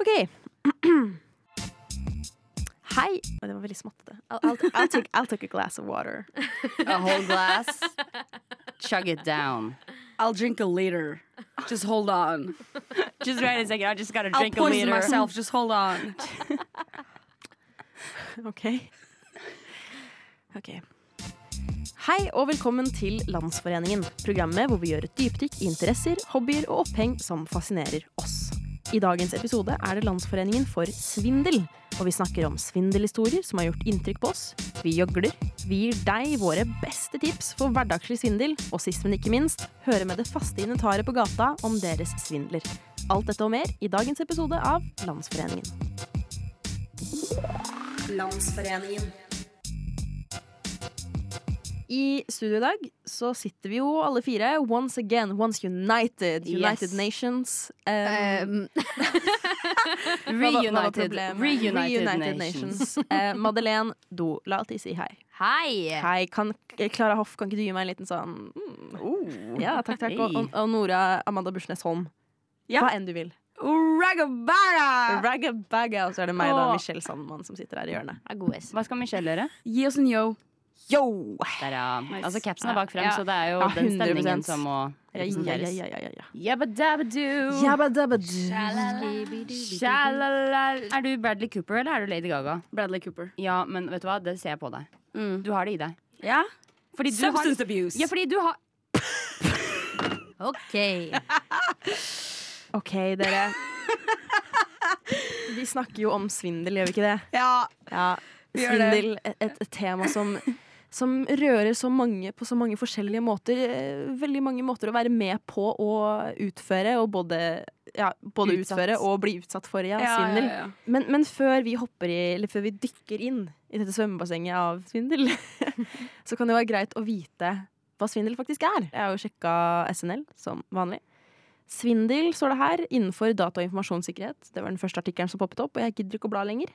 OK. Hei. Å, Det var veldig smattete. I'll, I'll, I'll, take, I'll take a glass of water. A whole glass. Chug it down. I'll drink a liter. Just hold on. Just wait a second. I just gotta I'll drink a poison liter. myself. Just hold on. OK. Ok. Hei og velkommen til Landsforeningen. Programmet hvor vi gjør et dypdykk i interesser, hobbyer og oppheng som fascinerer oss. I dagens episode er det Landsforeningen for svindel. Og vi snakker om svindelhistorier som har gjort inntrykk på oss. Vi gjøgler. Vi gir deg våre beste tips for hverdagslig svindel. Og sist, men ikke minst, høre med det faste inventaret på gata om deres svindler. Alt dette og mer i dagens episode av Landsforeningen. Landsforeningen. I studio i dag så sitter vi jo alle fire once again, once united. United Yes. Nations. Um, Um, hva var- hva var reunited, problemet? reunited, Reunited Nations. Eh, Madeleine Do, la alltid si hei. Hei! Hei, kan Klara Hoff, kan ikke du gi meg en liten sånn mm, Ja, takk, takk. Og, Hei. og, og Nora Amanda Bursnes Holm. Ja. Hva enn du vil. Ragabara! Ragabagga, og så er det meg, da, Ah. Åh. Michelle Sandmann, som sitter her i hjørnet. Hva skal Michelle gjøre? Gi oss en yo. Yo! Der, ja. Nice. Altså Capsen er bak frem, Ja. så det er jo Ja, den 100%. stemningen som må Ja, ja, ja, representeres. ja, ja, ja. Jabba-dabba-doo. Shalala. Er du Bradley Cooper eller er du Lady Gaga? Bradley Cooper. Ja, men vet du hva, det ser jeg på deg. Du har det i deg. Ja? Fordi du har Substance abuse. Ja, fordi du har OK. OK, dere. Vi snakker jo om svindel, gjør vi ikke det? Ja. Ja, Vi gjør det. svindel, et, et tema som, som rører så mange på så mange forskjellige måter. eh, Veldig mange måter å være med på å utføre, og både, ja, både Utsatt. utføre og bli utsatt for ja, Ja, svindel. ja, ja. Men, men før vi hopper i, eller før vi dykker inn i dette svømmebassenget av svindel, så kan det være greit å vite hva svindel faktisk er. Jeg har jo sjekka SNL som vanlig. Svindel står det her innenfor data- og informasjonssikkerhet. Det var den første artikkelen som poppet opp, og jeg gidder ikke å bla lenger.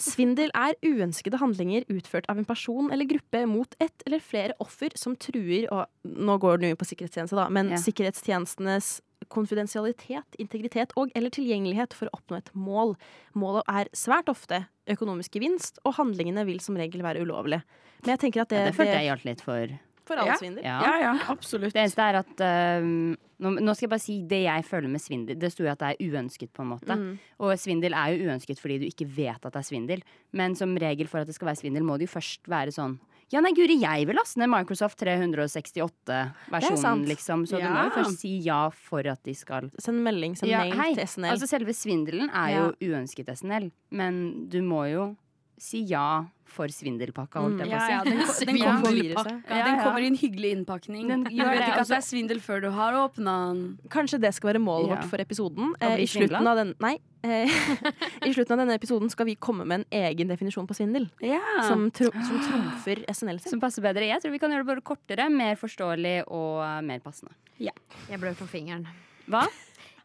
Svindel er uønskede handlinger utført av en person eller gruppe mot ett eller flere offer som truer og Nå går det jo på sikkerhetstjeneste, da, men Ja. sikkerhetstjenestenes konfidensialitet, integritet og eller tilgjengelighet for å oppnå et mål. Målet er svært ofte økonomisk gevinst, og handlingene vil som regel være ulovlige. Men jeg tenker at det, Det følte jeg hjalp litt for. for all Ja. svindel. Ja. Ja, ja, absolutt. Det eneste er at øhm, nå, nå skal jeg bare si det jeg føler med svindel. Det sto jo at det er uønsket, på en måte. Mm. Og svindel er jo uønsket fordi du ikke vet at det er svindel. Men som regel for at det skal være svindel, må det jo først være sånn Ja, nei, guri, jeg vil laste ned Microsoft Det er sant. 368-versjonen, liksom. Så du må Ja. jo først si ja for at de skal Send melding, send ja, mail hei. til SNL. Altså selve svindelen er jo uønsket SNL, men du må jo si ja for svindelpakka, holdt jeg Mm. på Ja, å si. ja, den, den, Ja, kommer, den viruset. ja, den kommer i en hyggelig innpakning. Den du gjør vet det, ikke at altså. det er svindel før du har åpna den. Kanskje det skal være målet Ja. vårt for episoden. Å Eh, bli i, slutten svindla? av den, nei, eh, I slutten av denne episoden skal vi komme med en egen definisjon på svindel. Som, Som, tro, som trumfer SNL sin. Som passer bedre. Jeg tror vi kan gjøre det bare kortere, mer forståelig og eh, mer passende. Jeg blør fra fingeren. Hva?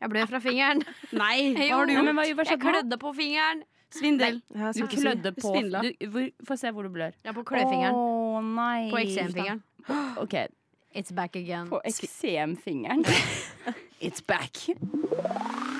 Jeg blør fra fingeren. nei, hva har du Jo, gjort? men hva- hva Jeg skjedde nå? klødde på fingeren. Svindel. Ja, Du skal ikke si. klødde på Svindla. du, hvor, Få se hvor du blør. Ja, på kløfingeren. Å nei. På eksemfingeren. Ok, It's back again. på eksemfingeren. It's back.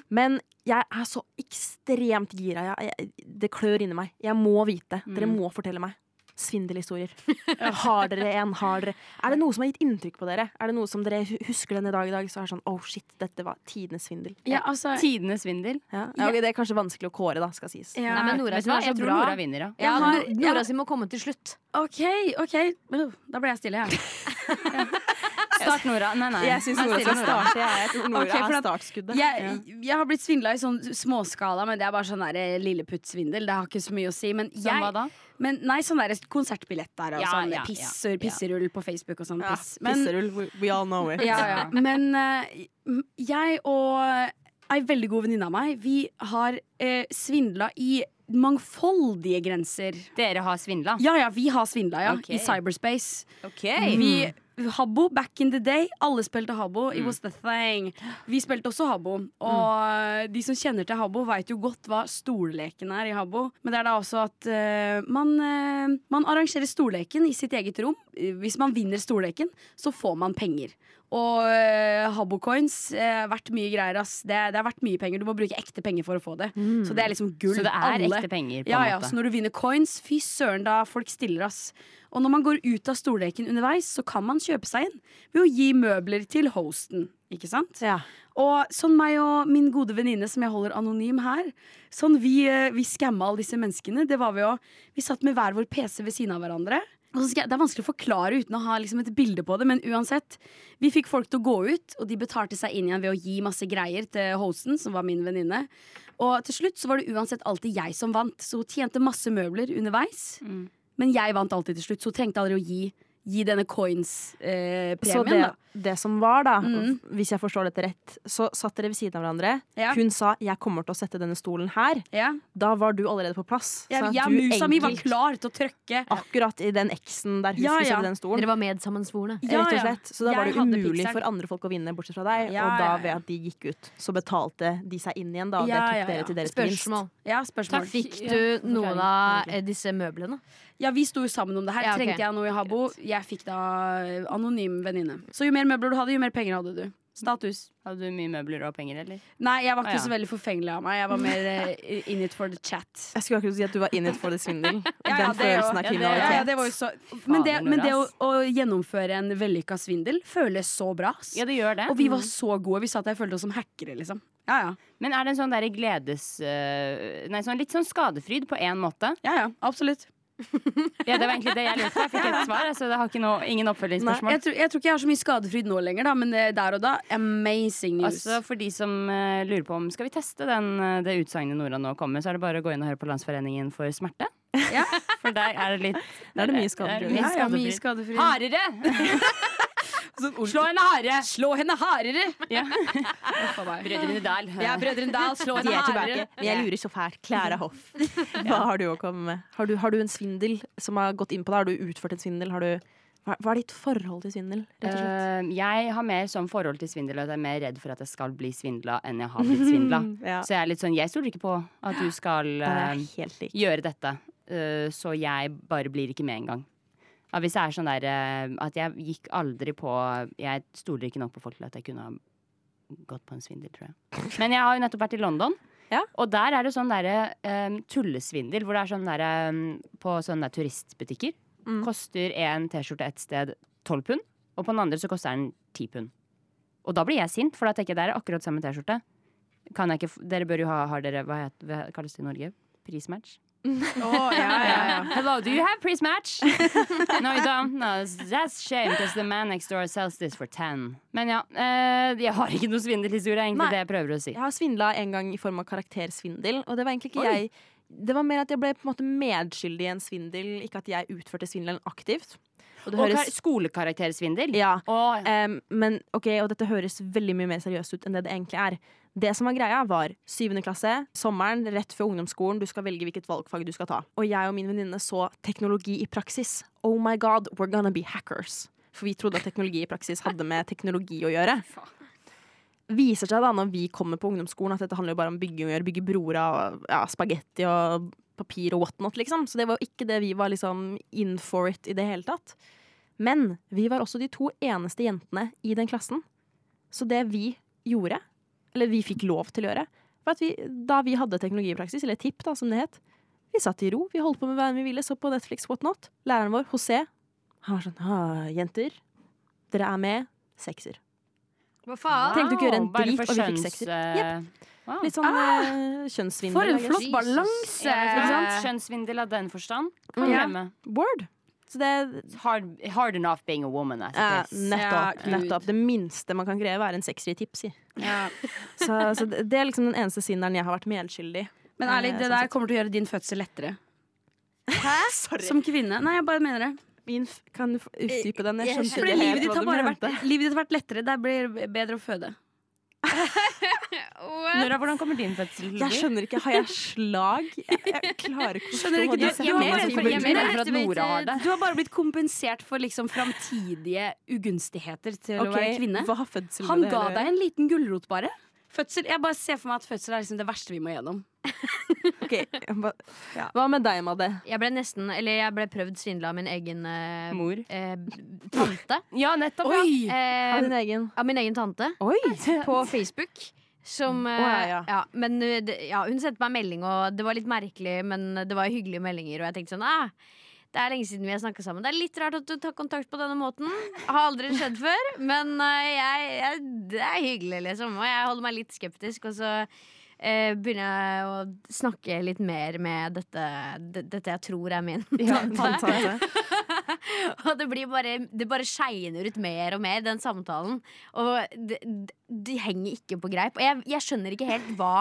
Men jeg er så ekstremt gira. Jeg, jeg, det klør inni meg. Jeg må vite. Dere må fortelle meg. Svindelhistorier. Har dere en? Har dere Er det noe som har gitt inntrykk på dere? Er det noe som dere hu- husker denne dag i dag? Så er det sånn, oh shit, dette var tidenes svindel. Ja, altså Tidenes svindel. Ja. Ja, ok, det er kanskje vanskelig å kåre, da, skal sies. ja. Nei, men Nora, Vet du som hva, er så jeg tror bra. Nora vinner, ja. Ja, Jeg har- Nor- Nora jeg- si må komme til slutt. OK, OK. Uh, Da ble jeg stille, jeg. Start Nora. Nei, nei. Jeg syns Nora stiller skal starte. Jeg, jeg tror Nora Ok, for er at- startskuddet. Jeg, Altså, jeg har blitt svindla i sånn småskala, men det er bare sånn der lilleputtsvindel. Det har ikke så mye å si. Men, Som hva jeg, da? men nei, sånn der konsertbillett der og Ja, sånn ja, ja, pisser, ja. pisserull på Facebook og sånn Ja, piss. Men, Pisserull, we, we all know it. ja, ja. men eh, jeg og ei veldig god venninne av meg, vi har uh, svindla i mangfoldige grenser. Dere har svindla? Ja ja, vi har svindla, ja. Ok. I cyberspace. Ok. Vi Mm. Habbo, back in the day. Alle spilte Habbo. It was the thing. Vi spilte også Habbo. Og Mm. de som kjenner til Habbo, veit jo godt hva stolleken er i Habbo. Men det er da også at eh, man, eh, man arrangerer stolleken i sitt eget rom. Hvis man vinner stolleken, så får man penger. Og eh, Habbo-coins eh, verdt mye greier, ass. Det, det er verdt mye penger. Du må bruke ekte penger for å få det. Så det er liksom gull. Mm. Så det er Alle- ekte penger, på ja, en ja, så måte. når du vinner coins, fy søren da folk stiller ass. Og når man går ut av storleken underveis, så kan man kjøpe seg inn ved å gi møbler til hosten. Ikke sant? Ja. Og sånn meg og min gode venninne som jeg holder anonym her, sånn vi, eh, vi skamma alle disse menneskene. Det var vi jo. Vi satt med hver vår PC ved siden av hverandre. Og så skal jeg, det er vanskelig å forklare uten å ha liksom et bilde på det, men uansett. Vi fikk folk til å gå ut, og de betalte seg inn igjen ved å gi masse greier til hosten, som var min venninne. Og til slutt så var det uansett alltid jeg som vant, så hun tjente masse møbler underveis. Mm. Men jeg vant alltid til slutt, så hun trengte aldri å gi, gi denne coins-premien. Så det, da. det som var, da, Mm. hvis jeg forstår dette rett, så satt dere ved siden av hverandre. Ja. Hun sa 'jeg kommer til å sette denne stolen her'. Ja. Da var du allerede på plass. Jeg, sånn at jeg, du musa mi var enkelt- klar til å trøkke. Akkurat i den X-en der hun Ja, skulle ja. sette den stolen. Dere var medsammensvorne. Ja, rett og ja. slett. Så da var Jeg det hadde umulig pizzeren. for andre folk å vinne, bortsett fra deg. Ja, og da ja, ja. ved at de gikk ut, så betalte de seg inn igjen, da. Og Ja, det tok ja, dere ja. til deres Spørsmål. Ja, spørsmål. Fikk du noen av eh, disse møblene? Ja, Vi sto jo sammen om det her. Ja, ok. Trengte jeg noe i Habbo? Jeg fikk da eh, anonym venninne. Så jo mer møbler du hadde, jo mer penger hadde du. Status. Hadde du mye møbler og penger, eller? Nei, jeg var Å, ikke ja. så veldig forfengelig av meg. Jeg var mer eh, in it for the chat. Jeg skulle akkurat si at du var in it for the svindel. Ja, ja, den det følelsen av jo. Ja, det- kriminalitet. Ja, ja, det var jo så Men det, Fader, men det å, Nora, ass. å gjennomføre en vellykka svindel føles så bra. ass. Ja, det gjør det. Mm. Og vi var så gode. Vi satt der og følte oss som hackere, liksom. Ja, ja. Men er det en sånn derre gledes... øh, nei, sånn litt sånn skadefryd på én måte. ja, ja absolutt. Ja, det var egentlig det jeg lurte på. Jeg fikk et svar, så det har ikke noe, ingen oppfølgingsspørsmål. Jeg tror, jeg tror ikke jeg har så mye skadefryd nå lenger, da, men eh, der og da amazing news. Altså, for de som eh, lurer på om skal vi teste den, eh, det utsagnet Nora nå kommer med, så er det bare å gå inn og høre på Landsforeningen for smerte. Ja. For der er det litt Da er det mye skadefryd. det ja, ja, skadefryd. mye skadefryd. Hardere! Slå henne hardere! Slå henne hardere! Ja. Uff a meg. Brødrene Dal. Ja, Brødrene Dal, slå De henne er hardere. tilbake. Men Jeg lurer så fælt. Klara Hoff, hva har du å komme med? Har du, har du en svindel som har gått inn på deg? Har du utført en svindel? Har du, hva, hva er ditt forhold til svindel? Rett og slett? Eh, jeg har mer sånn forhold til svindel og at jeg er mer redd for at jeg skal bli svindla enn jeg har blitt svindla. Eh, Mm, Ja. Så jeg er litt sånn, jeg stoler ikke på at du skal Der er eh, jeg helt lik. gjøre dette, eh, så jeg bare blir ikke med engang. Ja, hvis det er sånn der eh, at jeg gikk aldri på Jeg stoler ikke nok på folk til at jeg kunne ha gått på en svindel, tror jeg. Men jeg har jo nettopp vært i London. Ja. Og der er det sånn derre eh, tullesvindel, hvor det er sånn derre eh, På sånne der turistbutikker Mm. koster en T-skjorte et sted 12 pund, og på den andre så koster den 10 pund. Og da blir jeg sint, for da tenker jeg det er akkurat samme T-skjorte. Kan jeg ikke f Dere bør jo ha har dere, hva, het, hva kalles det i Norge? Prismatch? Å, ja, ja, ja. Hello, do you have prismatch? no, you don't. No, that's shame, because the man next door sells this for 10. Men ja, eh, jeg har ikke noe svindelhistorie, er egentlig Nei. det jeg prøver å si. Jeg har svindla en gang i form av karaktersvindel, og det var egentlig ikke Oi. jeg. Det var mer at jeg ble på en måte medskyldig i en svindel, ikke at jeg utførte svindelen aktivt. Og det Og kar høres, skolekaraktersvindel. ja, Å, Em, men ok, og dette høres veldig mye mer seriøst ut enn det det egentlig er. Det som var greia, var syvende klasse, sommeren, rett før ungdomsskolen. Du skal velge hvilket valgfag du skal ta. Og jeg og min venninne så teknologi i praksis. Oh my god, we're gonna be hackers. For vi trodde at teknologi i praksis hadde med teknologi å gjøre. Viser seg da når vi kommer på ungdomsskolen at dette handler jo bare om bygging å gjøre. Bygge broer av ja, spagetti og papir og whatnot, liksom. Så det var jo ikke det vi var liksom in for it i det hele tatt. Men vi var også de to eneste jentene i den klassen. Så det vi gjorde, eller vi fikk lov til å gjøre, var at vi, da vi hadde teknologipraksis, eller TIP da, som det het, vi satt i ro, vi holdt på med hva enn vi ville, så på Netflix, whatnot. Læreren vår, José, han var sånn «Ah, Jenter, dere er med. Sekser. Hva faen? Tenkte ikke å gjøre en bare drit, for og vi fikk skjønns, sekser. eh, wow. Litt sånn eh, kjønnssvindel. Ah! For en I guess. flott balanse! Ja, ikke sant? Eh. Skjønnssvindel av den forstand. Mm. Kan glemme. Word. Så det er Hard, hard enough being a woman. I eh, suppose. nettopp, Ja, Gud. nettopp. Det minste man kan kreve, er en sekser i tips, si. Ja. Så, så det det er liksom den eneste svindelen jeg har vært medskyldig i. Men ærlig, Eh, det sånn der sett. kommer til å gjøre din fødsel lettere. Sorry. Som kvinne. Nei, jeg bare mener det. Min f kan du f- utdype den? Jeg skjønte Fordi ikke livet helt ditt sånn hva har du bare vært, mente. livet ditt har vært lettere. Det blir bedre å føde. Nora, hvordan kommer din fødsel til å Jeg bli? skjønner ikke. Har jeg slag? Jeg, jeg klarer ikke å forstå Skjønner ikke det. du- Jeg du Jeg har mener bare- at vi for- burde- er mer redd for at Nora har det. Du har bare blitt kompensert for liksom framtidige ugunstigheter til å Ok, være kvinne. Hva har fødsel Han ga deg en liten gulrot, bare. Fødsel, jeg bare ser for meg at fødsel er liksom det verste vi må gjennom. Ok, hva- Hva med deg, Madde? Jeg ble nesten, eller jeg ble prøvd svindla av min egen eh, Mor. eh, tante. Ja, nettopp! ja. Oi! Av Eh, din egen? av min egen tante. Oi! på Facebook. Som, eh, ja, ja, ja. men eh, det- ja, hun sendte meg melding, og det var litt merkelig, men det var hyggelige meldinger. Og jeg tenkte sånn ah, Det er lenge siden vi har snakka sammen. Det er litt rart at du tar kontakt på denne måten. Har aldri skjedd før. Men eh, jeg, jeg, det er hyggelig, liksom. Og jeg holder meg litt skeptisk. Og så eh, begynner jeg å snakke litt mer med dette, d- dette jeg tror er min tante. Tanntante. Og det blir bare Det bare skeiner ut mer og mer, den samtalen. Og det, det, det henger ikke på greip. Og jeg, jeg skjønner ikke helt hva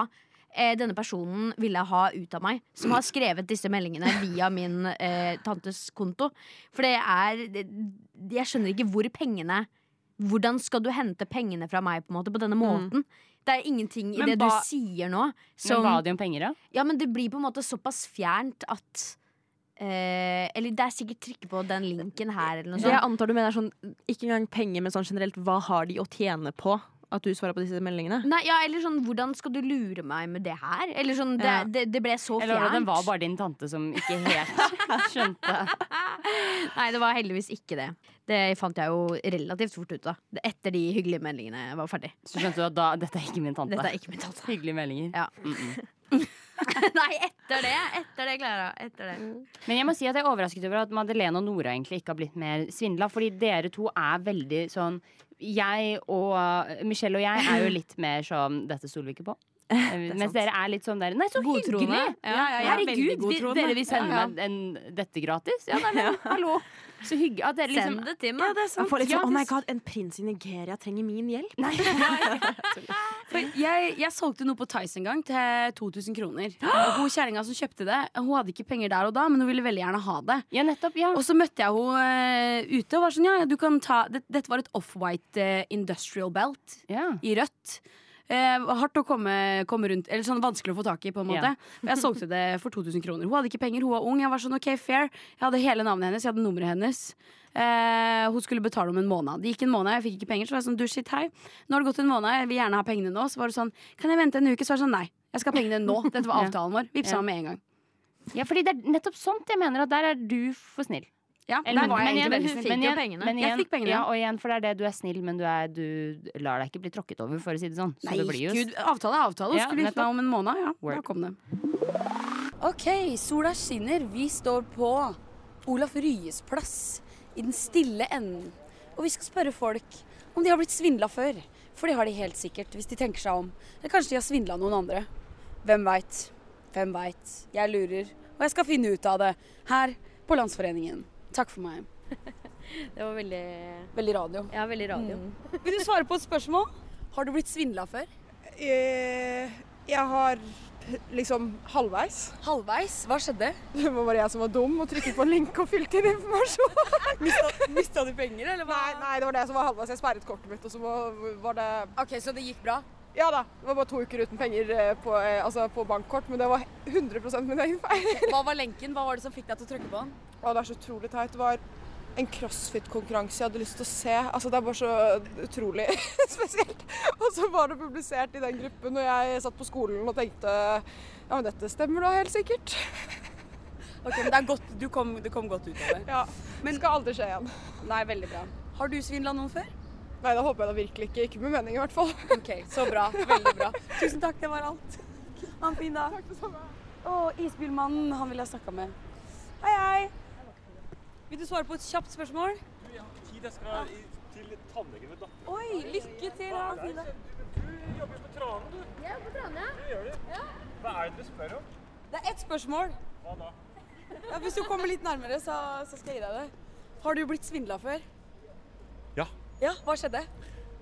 eh, denne personen ville ha ut av meg, som har skrevet disse meldingene via min eh, tantes konto. For det er det, Jeg skjønner ikke hvor pengene Hvordan skal du hente pengene fra meg på, en måte, på denne måten? Det er ingenting i Men det du ba- sier nå Men som ba de om penger, da? ja, men det blir på en måte såpass fjernt at eh, Eller det er sikkert trykke på den linken her, eller noe Det jeg sånt. antar du mener er sånn, ikke engang penger, men sånn generelt, hva har de å tjene på at du svarer på disse meldingene? Nei, ja, eller sånn, hvordan skal du lure meg med det her? Eller sånn, det, Ja. det, det ble så Eller var det fjernt. den var bare din tante som ikke helt skjønte? Nei, det var heldigvis ikke det. Det fant jeg jo relativt fort ut av. Det- Etter de hyggelige meldingene var ferdig. Så skjønte du at da, dette er ikke min tante. Dette er ikke min tante. Hyggelige meldinger. Ja. Mm -mm. Nei, etter det. Etter det, Klara. Etter det. Men jeg må si at jeg er overrasket over at Madeleine og Nora egentlig ikke har blitt mer svindla. Fordi dere to er veldig sånn Jeg og eh, Michelle og jeg er jo litt mer sånn Dette stoler vi ikke på. Eh, Mens sant. dere er litt sånn der Nei, så Godtroende. hyggelig! Ja, ja, jeg er veldig Herregud, vi, godtroende. dere vil sende Ja, ja. meg en, dette gratis? Ja, nei, men, hallo. Så hyggelig at dere liksom Send det til meg. Jeg får litt Ja, sånn, oh det- my god, en prins i Nigeria trenger min hjelp. Nei, For jeg, jeg solgte noe på Tice en gang til 2000 kroner. Og Hun kjerringa som kjøpte det, hun hadde ikke penger der og da, men hun ville veldig gjerne ha det. ja, nettopp. Ja. Og så møtte jeg henne eh, ute og var sånn ja, ja, du kan ta det, Dette var et offwhite eh, industrial belt ja. i rødt. Eh, hardt å komme, komme rundt Eller sånn vanskelig å få tak i, på en måte. Ja. Og jeg solgte det for 2000 kroner. Hun hadde ikke penger, hun var ung. Jeg var sånn, ok, fair Jeg hadde hele navnet hennes, jeg hadde nummeret hennes. Eh, hun skulle betale om en måned. Det gikk en måned, jeg fikk ikke penger. Så var jeg sånn, du shit, hei. Nå har det gått en måned, jeg vil gjerne ha pengene nå. Så var det sånn, kan jeg vente en uke? Så var det sånn, nei. Jeg skal ha pengene nå. Dette var Ja. avtalen vår. Vipsa Ja. meg med en gang. Ja, fordi det er nettopp sånt jeg mener at der er du for snill. Ja, Eller- der var jeg men igjen- egentlig veldig hun snill. fikk men jo igjen- pengene. men Jeg igjen- fikk pengene. Ja, og igjen, for det er det du er snill, men du, er, du lar deg ikke bli tråkket over, for å si det sånn. Så Nei, det blir jo gud, avtale er avtale. Hun Ja, skulle gifte meg nettopp. om en måned. Ja, Word. da kom det. Ok, sola skinner. Vi står på Olaf Ryes plass i den stille enden. Og vi skal spørre folk om de har blitt svindla før. For det har de helt sikkert, hvis de tenker seg om. Eller kanskje de har svindla noen andre. Hvem veit? Hvem veit? Jeg lurer. Og jeg skal finne ut av det her på Landsforeningen. Takk for meg. Det Mm. var veldig Veldig radio. Ja, veldig radio. Vil du svare på et spørsmål? Har du blitt svindla før? Eh, Jeg har p- liksom halvveis. Halvveis. Hva skjedde? Det var bare jeg som var dum og trykket på en link og fylte inn informasjon. Mista du penger, eller Nei, nei, det var det som var halvveis. Jeg sperret kortet mitt, og så var- var det Ok, Så det gikk bra? Ja da, det var bare to uker uten penger eh, på, eh, altså på bankkort, men det var 100 min egen feil. Hva var lenken? Hva var det som fikk deg til å trykke på den? Og det er så utrolig teit. Det var en crossfit-konkurranse jeg hadde lyst til å se. Altså, det er bare så utrolig spesielt. Og så var det publisert i den gruppen, og jeg satt på skolen og tenkte ja, men dette stemmer da helt sikkert. Ok, men det er godt, du, kom, du kom godt ut av det. Ja, men skal aldri skje igjen. Nei, veldig bra. Har du svindla noen før? Nei, det håper jeg da virkelig ikke. Ikke med mening i hvert fall. Ok, så bra. Veldig bra. Tusen takk, det var alt. Ha en fin dag. Takk det samme. Å, isbilmannen, han vil jeg snakke med. Hei, hei. Vil du svare på et kjapt spørsmål? tid jeg skal i, til tannlegen ved datteren. Oi, lykke til. Ha en fin dag. Du jobber jo på Tranen, du. Jeg jobber på Tranen, ja. Du gjør det. Hva er det dere spør om? Det er ett spørsmål. Hva da? Ja, hvis du kommer litt nærmere, så, så skal jeg gi deg det. Har du blitt svindla før? Ja. Ja, hva skjedde?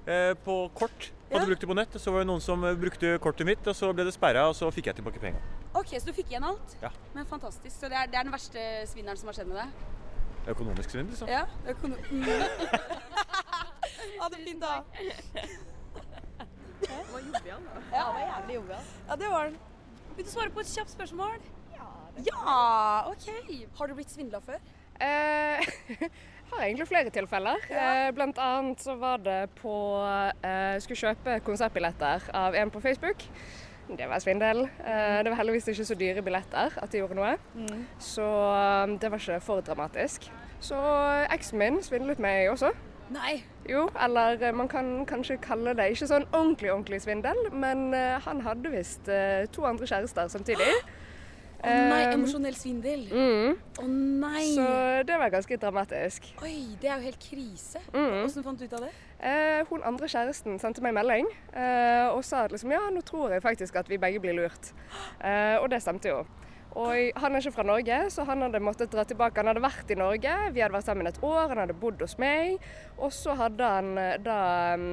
Eh, på kort. Hadde Ja. brukt det på nett, og så var det noen som eh, brukte kortet mitt, og så ble det sperra, og så fikk jeg tilbake penga. Ok, så du fikk igjen alt? Ja. Men fantastisk. Så det er, det er den verste svindelen som har skjedd med deg? Økonomisk svindel, så. Ja. mm. Økono... ha det fint, da. Det var jobbig, han. Ja, det var jævlig jobbig. Ja, det var den. Vil du svare på et kjapt spørsmål? Ja, OK. Har du blitt svindla før? Eh, har egentlig flere tilfeller. Eh, blant annet så var det på eh, Skulle kjøpe konsertbilletter av en på Facebook. Det var svindel. Eh, Det var heldigvis ikke så dyre billetter at det gjorde noe. Så um, det var ikke for dramatisk. Så eh, eksen min svindlet meg også. Nei. Jo, eller eh, man kan kanskje kalle det ikke sånn ordentlig ordentlig svindel, men eh, han hadde visst eh, to andre kjærester samtidig. Å nei, Eh, emosjonell svindel. mm, Å nei. så det var ganske dramatisk. Oi, det er jo helt krise. Mm. Hvordan fant du ut av det? Eh, hun andre kjæresten sendte meg melding eh, og sa at liksom, ja, nå tror jeg faktisk at vi begge blir lurt. Eh, og det stemte jo. Og han er ikke fra Norge, så han hadde måttet dra tilbake. Han hadde vært i Norge, vi hadde vært sammen et år, han hadde bodd hos meg. Og så hadde han eh, da mm,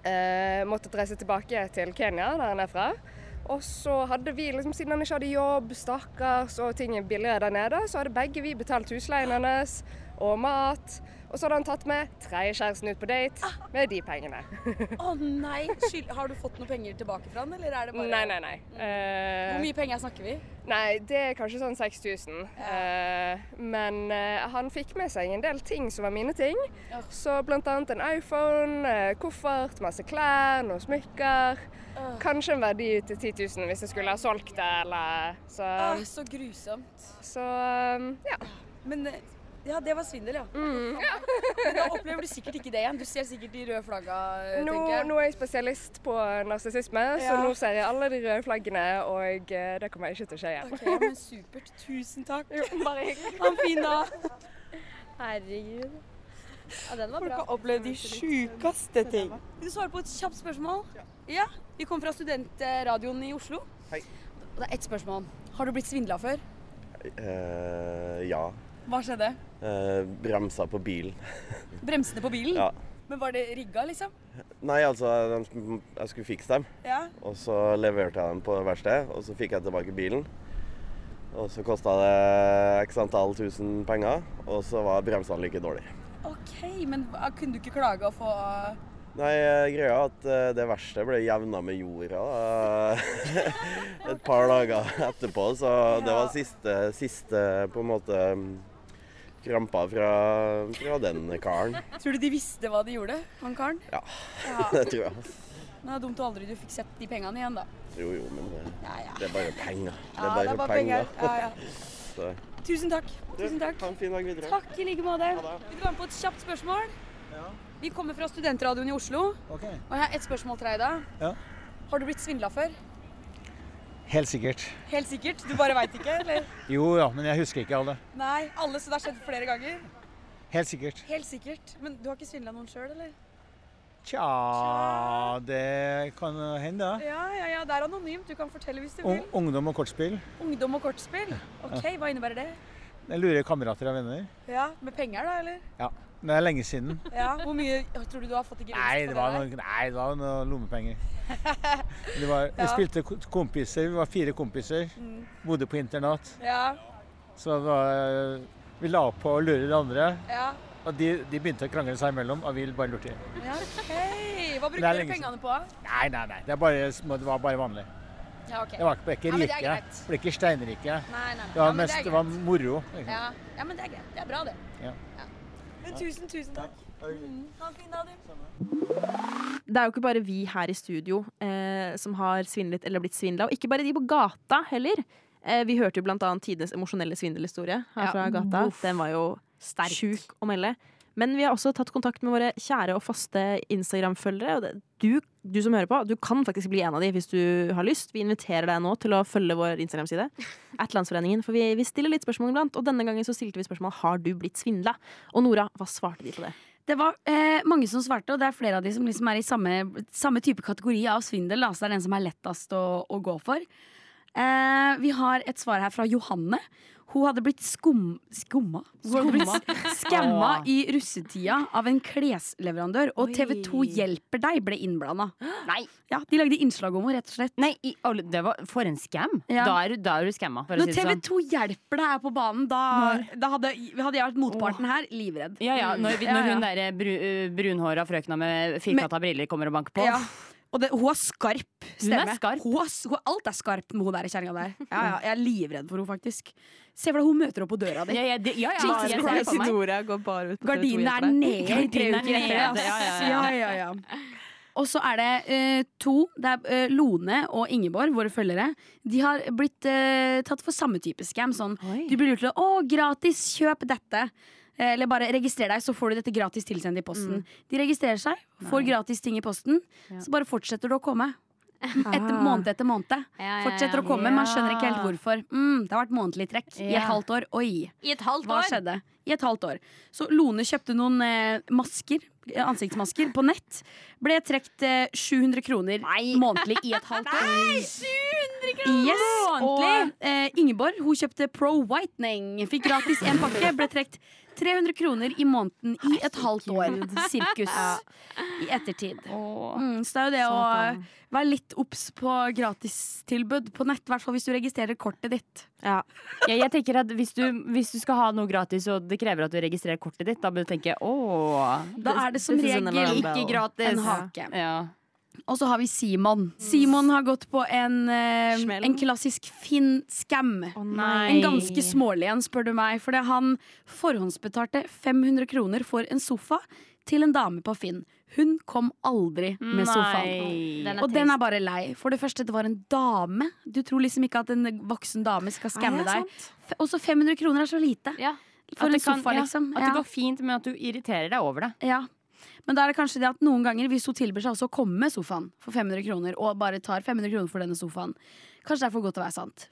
eh, måttet reise tilbake til Kenya, der han er fra. Og så hadde vi, liksom, siden han ikke hadde jobb, stakkars, og ting er billigere der nede, så hadde begge vi betalt husleien hennes og mat. Og så hadde han tatt med tredjekjæresten ut på date med de pengene. Å nei. Skyld, har du fått noen penger tilbake fra han, eller er det bare Nei, nei, nei. Hvor Eh, mye penger snakker vi? nei, det er kanskje sånn 6000. Eh, men eh, han fikk med seg en del ting som var mine ting. Ja. Så blant annet en iPhone, eh, koffert, masse klær, noen smykker. Åh. Kanskje en verdi til 10 000 hvis jeg skulle ha solgt det, eller Så, Åh, så grusomt. så eh, ja. Men eh, ja, det var svindel, ja. Men da opplever du sikkert ikke det igjen. Du ser sikkert de røde flagga, eh, Nå, tenker jeg. nå er jeg spesialist på narsissisme, så Ja. nå ser jeg alle de røde flaggene, og eh, det kommer ikke til å skje igjen. Ok, men supert. Tusen takk. Jo, bare hyggelig. Ha en fin dag. Herregud. Ja, den var Folk bra. har opplevd de sjukeste ting. Vil du svare på et kjapt spørsmål? Ja. Vi kom fra studentradioen i Oslo. Hei. Og Det er ett spørsmål. Har du blitt svindla før? Eh, ja. Hva skjedde? Eh, bremsa på bilen. Bremsene på bilen? Ja. Men var det rigga, liksom? Nei, altså, de- jeg skulle fikse dem, Ja. og så leverte jeg dem på verksted, og så fikk jeg tilbake bilen. Og så kosta det x antall tusen penger, og så var bremsene like dårlige. OK, men hva- kunne du ikke klage og få ah, Nei, eh, greia er at eh, det verste ble jevna med jorda da. et par dager etterpå. Så det var siste, siste på en måte krampa fra, fra den karen. Tror du de visste hva de gjorde, han karen? Ja. ja. Det tror jeg. altså. Men det er dumt du aldri du fikk sett de pengene igjen, da. Jo, jo, men det, Ja, ja. det er bare penger. Det Ja, er bare, penger. Ja, ja. Så- Tusen takk. Tusen takk. Ha en fin dag videre. Takk i like måte. Ha det. Vil du være med på et kjapt spørsmål? Vi kommer fra studentradioen i Oslo, Ok. og jeg har ett spørsmål til deg da. Ja. Har du blitt svindla før? Helt sikkert. Helt sikkert. Du bare veit ikke, eller? Jo ja, men jeg husker ikke alle. Nei, alle, så det har skjedd flere ganger. Helt sikkert. Helt sikkert. Men du har ikke svindla noen sjøl, eller? Tja, det kan hende. ja. Ja, ja, ja. Det er anonymt. Du kan fortelle hvis du Ung, vil. ungdom og kortspill. Ungdom og kortspill. OK, hva innebærer det? Jeg lurer kamerater og venner. Ja, Med penger, da, eller? Ja, men det er lenge siden. Ja, Hvor mye tror du du har fått i gevinst? Nei, på det var der? noen, nei, det var noen lommepenger. Det var, vi Ja. spilte ko- kompiser, vi var fire kompiser. Mm. Bodde på internat. Ja, Så det var, Eh, vi la opp på å lure de andre. ja. Og de, de begynte å krangle seg imellom, og vi bare lurte. ja. Hei! Hva Det bruker er dere lenge siden. pengene på? Nei, nei, nei. Det, er bare, små- det var bare vanlig. Ja, OK. Det var ikke, ble ikke Ja, men det er rike. greit. Det ble ikke steinrike. Nei, nei, nei. Det var, Ja, men mest, det er det var greit. moro. liksom. Ja. ja, men det er greit. Det er bra, det. Ja. Men tusen, tusen takk. Mm. Ha en fin dag, du. Det er jo ikke bare vi her i studio eh, som har svindlet eller blitt svindla, og ikke bare de på gata heller. Eh, vi hørte jo blant annet tidenes emosjonelle svindelhistorie her Ja, fra gata. Den var jo Sterk. sjuk å melde. Men vi har også tatt kontakt med våre kjære og faste Instagram-følgere. Og det- du, du som hører på, du kan faktisk bli en av de hvis du har lyst. Vi inviterer deg nå til å følge vår Instagram-side. At Landsforeningen, For vi, vi stiller litt spørsmål iblant, og denne gangen så stilte vi spørsmål har du blitt svindla. Og Nora, hva svarte de på det? Det var eh, mange som svarte, og det er flere av de som liksom er i samme, samme type kategori av svindel. Da, så det er den som er lettest å, å gå for. Eh, vi har et svar her fra Johanne. Hun hadde blitt skum, skumma Hun hadde blitt skamma Ah. i russetida av en klesleverandør, og TV2 Hjelper deg ble innblanda. Nei, Ja, de lagde innslag om henne, rett og slett. nei i, alle- det var for en scam. Ja. Da er du, da er du skamma, for å Når si det sånn. TV2 Hjelper deg er på banen, da, da hadde, hadde jeg vært motparten her livredd. Mm. Ja, ja, når, vi- Ja, når ja. hun der eh, bru, brunhåra frøkna med firkanta briller kommer og banker på. Ja. Og det, hun har skarp stemme. Hun er skarp. Hun har s- hun- alt er skarp med hun der kjerringa der. Ja, ja, jeg er livredd for henne, faktisk. Se for deg hun møter opp på døra di. Ja, ja, det- ja, ja, Jesus jeg ser det Christ, for meg. Nora går bare ut på Gardinene er nede i tre Gardinene uker er etter. nede, ass. ja, Ja, ja, ja. Og så er det eh, to. Det er eh, Lone og Ingeborg, våre følgere. De har blitt eh, tatt for samme type scam. Sånn, Oi. du blir lurt til å 'Å, gratis! Kjøp dette!' Eh, Eller bare registrer deg, så får du dette gratis tilsendt i posten. De registrerer seg, får gratis ting i posten. Mm. Ja. Så bare fortsetter du å komme. Etter Ah. måned etter måned. Ja, ja, Fortsetter å ja. komme, man skjønner ikke helt Ja. hvorfor. Mm, det har vært månedlig trekk i Ja. et halvt år. Oi, I et halvt hva år. skjedde? I et halvt år. Så Lone kjøpte noen eh, masker, eh, ansiktsmasker, på nett. Ble trukket eh, 700 kroner månedlig i et halvt år. Nei, 700 kroner Yes, og eh, Ingeborg hun kjøpte Pro Whitening. Fikk gratis en pakke. Ble trukket 300 kroner i måneden i et halvt år. Sirkus i ettertid. Mm, så det er jo det Satan. å være litt obs på gratistilbud på nett, i hvert fall hvis du registrerer kortet ditt. Ja, jeg tenker at hvis du, hvis du skal ha noe gratis, og det krever at du registrerer kortet ditt, da bør du tenke åh. Da er det som This is an regel alarm ikke bell. gratis. En hake. Ja. Og så har vi Simon. Simon har gått på en, eh, Smell. en klassisk Finn-scam. nei. En ganske smålig en, spør du meg. For han forhåndsbetalte 500 kroner for en sofa til en dame på Finn. Hun kom aldri med sofaen. Den er Og den trist. er bare lei. For det første, det var en dame. Du tror liksom ikke at en voksen dame skal Ah, skamme det er deg. F- Også 500 kroner er så lite. Ja. For en At det kan- sofa, ja, liksom. At Ja. det går fint, men at du irriterer deg over det. Ja. Men da er det kanskje det at noen ganger hvis hun tilbyr seg også å komme med sofaen for 500 kroner, og bare tar 500 kroner for denne sofaen, kanskje det er for godt til å være sant.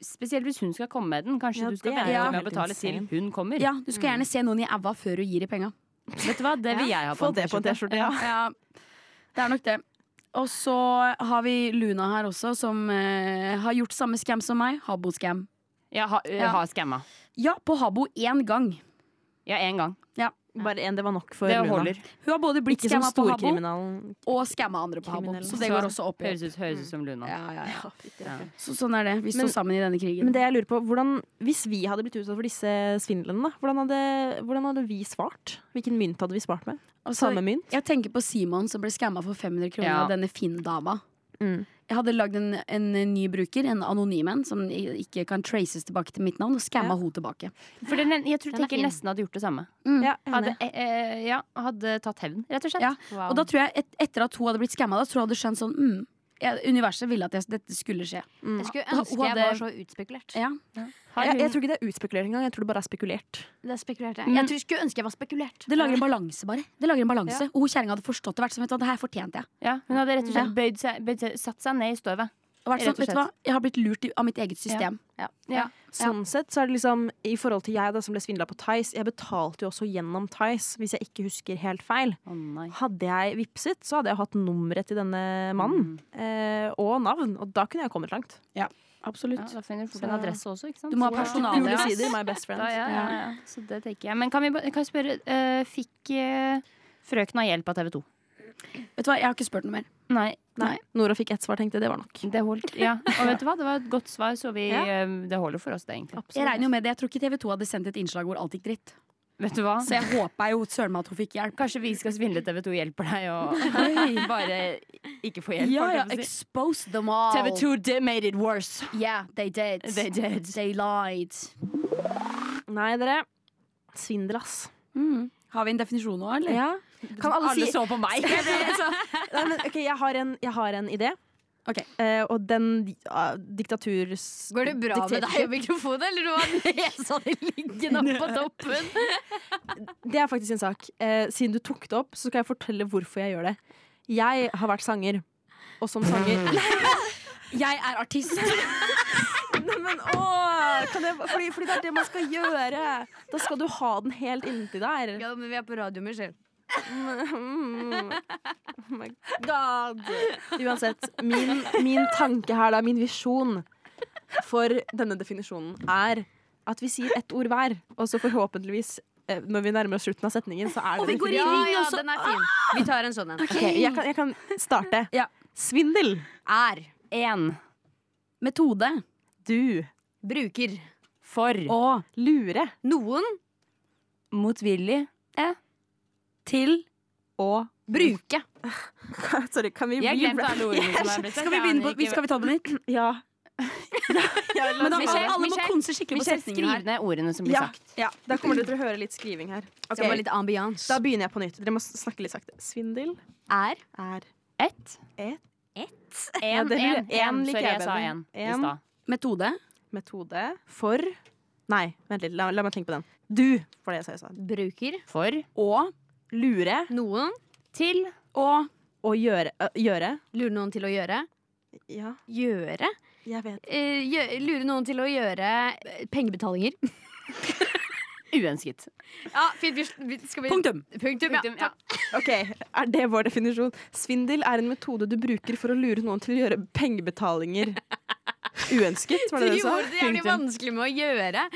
Spesielt hvis hun skal komme med den. Kanskje Ja, du skal det er vente jo med å helt betale til insane. hun kommer. Ja, Du skal gjerne se noen i æva før du gir i penga. Vet du hva, det vil jeg ha på Få det på en T-skjorte, ja. Ja, det er nok det. Og så har vi Luna her også, som eh, har gjort samme scam som meg. Habo-scam. Jeg har, Ja. har eh, skamma. Ja, på Habo én gang. Ja, én gang. Bare en, det var nok for Det Luna. holder. Hun har både blitt Ikke som skamma på Habo storkriminalen. og skamma andre på Habo. Kriminell. Så det går også opp i. Høres ut, høres ut som Luna. Ja, ja, ja. Ja. Så sånn er det. Vi Men- står sammen i denne krigen. Men det jeg lurer på, hvordan, hvis vi hadde blitt utsatt for disse svindlene, da, hvordan hadde, hvordan hadde vi svart? Hvilken mynt hadde vi spart med? Altså, Samme mynt? Jeg tenker på Simon som ble skamma for 500 kroner Ja. av denne Finn-dama. Mm. Jeg hadde lagd en, en ny bruker, en anonym en, som ikke kan traces tilbake til mitt navn, og skamma hun tilbake. For den, jeg tror Den er tenker fin. nesten hadde gjort det samme. Ja, enig. Hadde, eh, eh, ja, hadde tatt hevn, rett og slett. Ja. Wow. Og da tror jeg, et, etter at hun hadde blitt skamma, da tror jeg hun hadde skjønt sånn mm, ja, Universet ville at jeg, dette skulle skje. jeg skulle Da- ønske hun jeg var hadde- så utspekulert. Ja. Har Jeg, hun- jeg tror ikke det er utspekulert engang. Jeg tror det bare er spekulert. Det spekulerte jeg. Jeg tror, skulle ønske jeg var spekulert. Det lager en balanse, bare. Det lager en balanse Og hun kjerringa hadde forstått det. Vært sånn, vet du hva, det her fortjente jeg. ja, hun hadde rett og slett bøyd seg, bøyd seg, satt seg ned i støvet. Og vært Rett sånn, og vet du hva, slett. jeg har blitt lurt i, av mitt eget system. Sånn sett så er det liksom I forhold til jeg da som ble svindla på Tice, jeg betalte jo også gjennom Tice, hvis jeg ikke husker helt feil. Å nei. Hadde jeg vipset, så hadde jeg hatt nummeret til denne mannen. Eh, og navn. Og da kunne jeg kommet langt. Ja, da finner du fort en Så- adresse også, ikke sant? Du må Så ha da- personale. Gule ass. sider, my best friend. Da, ja, ja, ja. Så det tenker jeg. Men kan, vi, ba- kan jeg spørre, eh, fikk eh, frøkna hjelp av TV 2? Vet du hva, jeg har ikke spurt noe mer. Nei, Nei. Nora fikk ett svar, tenkte jeg. Det var nok. det holdt. Ja. Og vet du hva, det var et godt svar, så vi, Ja. eh, det holder for oss, det, egentlig. Jeg regner jo med det. Jeg tror ikke TV 2 hadde sendt et innslag hvor alt gikk dritt. Vet du hva? Så jeg håpa jo søren meg at hun fikk hjelp. Kanskje vi skal svindle TV 2 hjelper deg og bare ikke få hjelp. Ja, holdt ja, jeg på å si. expose them all. TV 2 they made it worse. Yeah, they did. They did. They lied. Nei, dere. Svindel, ass. Mm. Har vi en definisjon nå, eller? Ja. Kan alle si- så på meg. Nei, men, ok, jeg, har en, jeg har en idé. Ok. Eh, og den uh, diktaturs... Går det bra med deg dikterer- og mikrofonen, eller du har nesa di liggende opp på toppen? Det er faktisk en sak. Eh, siden du tok det opp, så skal jeg fortelle hvorfor jeg gjør det. Jeg har vært sanger. Og som sanger Nei, Jeg er artist. men åh, kan jeg, fordi, fordi det er det man skal gjøre. Da skal du ha den helt inntil der. Ja, men vi er på radio, Michelle. Mm. Oh my god. Uansett, min, min tanke her, da, min visjon for denne definisjonen, er at vi sier ett ord hver, og så forhåpentligvis eh, når vi nærmer oss slutten av setningen, så er det vi går i Ja, definitivt- ring, ja, og så- den er fin. Vi tar en sånn en. Ok, jeg, kan, jeg kan starte. Ja. Svindel. Er, En Metode. Du. bruker, for Og Lure. noen, motvillig til Og bruke. Sorry, kan vi Jeg har glemt re-rap? alle ordene som er blitt sagt. Skal vi begynne på vi- Skal vi ta det på nytt? Ja. Men da, Michelle, alle må Michelle, konse skikkelig på Michelle, setningen skriv her. ned ordene som blir Ja, sagt. ja, da kommer dere til å høre litt skriving her. Skal det være litt ambiance. Da begynner jeg på nytt. Dere må snakke litt sakte. Svindel Er er Ett. Et. Ett? En, det en, lurer- en. en liker Sorry, jeg jeg sa bedre. en i En. stad. Metode. metode for Nei, vent litt. La, la meg tenke på den. Du, for det jeg sa jeg sa. bruker For. Og Lure noen Til. Og og gjøre, ø, gjøre. Lure noen til å gjøre. Ja, Gjøre? jeg vet. Eh, gjø- lure noen til å gjøre eh, pengebetalinger. Uønsket. Ja, fint. Vi, vi- skal vi punktum. Punktum, ja. Punktum, ja. Ok, Er det vår definisjon? Svindel er en metode du bruker for å lure noen til å gjøre pengebetalinger uønsket. Var det det du sa? gjorde det jævlig vanskelig med å gjøre.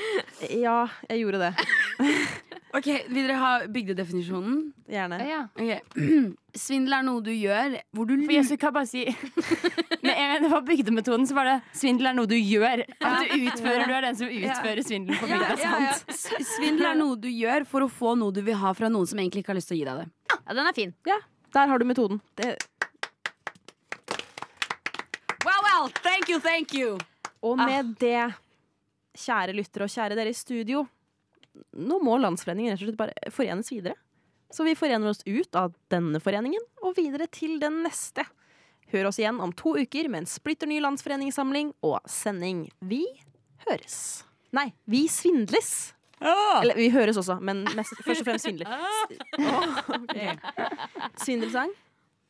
Ja, jeg gjorde det. Ok, Vil dere ha bygdedefinisjonen? Gjerne. Ja. Ok. Svindel er noe du gjør hvor du For Jesus, kan jeg bare si Med en gang det var bygdemetoden, så var det svindel er noe du gjør. At du utfører, du er den som utfører svindelen på bygda. S- Svindel er noe du gjør for å få noe du vil ha fra noen som egentlig ikke har lyst til å gi deg det. Ja, den er fin. Der har du metoden. Det, Well, well, thank you, thank you og med det, kjære lyttere og kjære dere i studio, nå må Landsforeningen rett og slett bare forenes videre. Så vi forener oss ut av denne foreningen og videre til den neste. Hør oss igjen om to uker med en splitter ny landsforeningssamling og sending. Vi høres. Nei, vi svindles. Eller vi høres også, men mest, først og fremst svindler. Åh, ok. Svindelsang.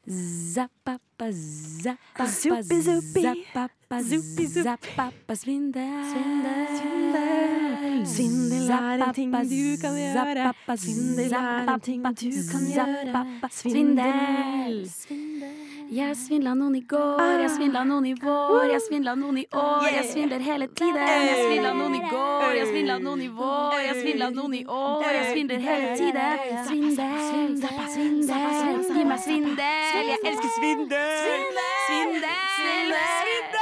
Zappappa, zappappa, Zuppi, zuppi. zappappa, Zuppi, zuppi. zappappa, svindel. Svindel. Svindel er en ting du kan gjøre. Zappappa, Svindel er en ting du kan gjøre. zappappa, Svindel. Jeg svindla noen i går, jeg svindla noen i vår, jeg svindla noen i år, jeg svindler hele tiden. Jeg svindla noen i går, jeg svindla noen i vår, jeg svindla noen i år, jeg svindler hele tiden. Svindel, svindel, svindel, gi meg svindel. Jeg elsker svindel! Svindel, svindel, svindel,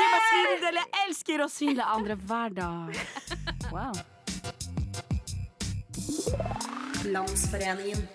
gi meg svindel. Jeg elsker å svindle andre hver dag. Wow. Landsforeningen.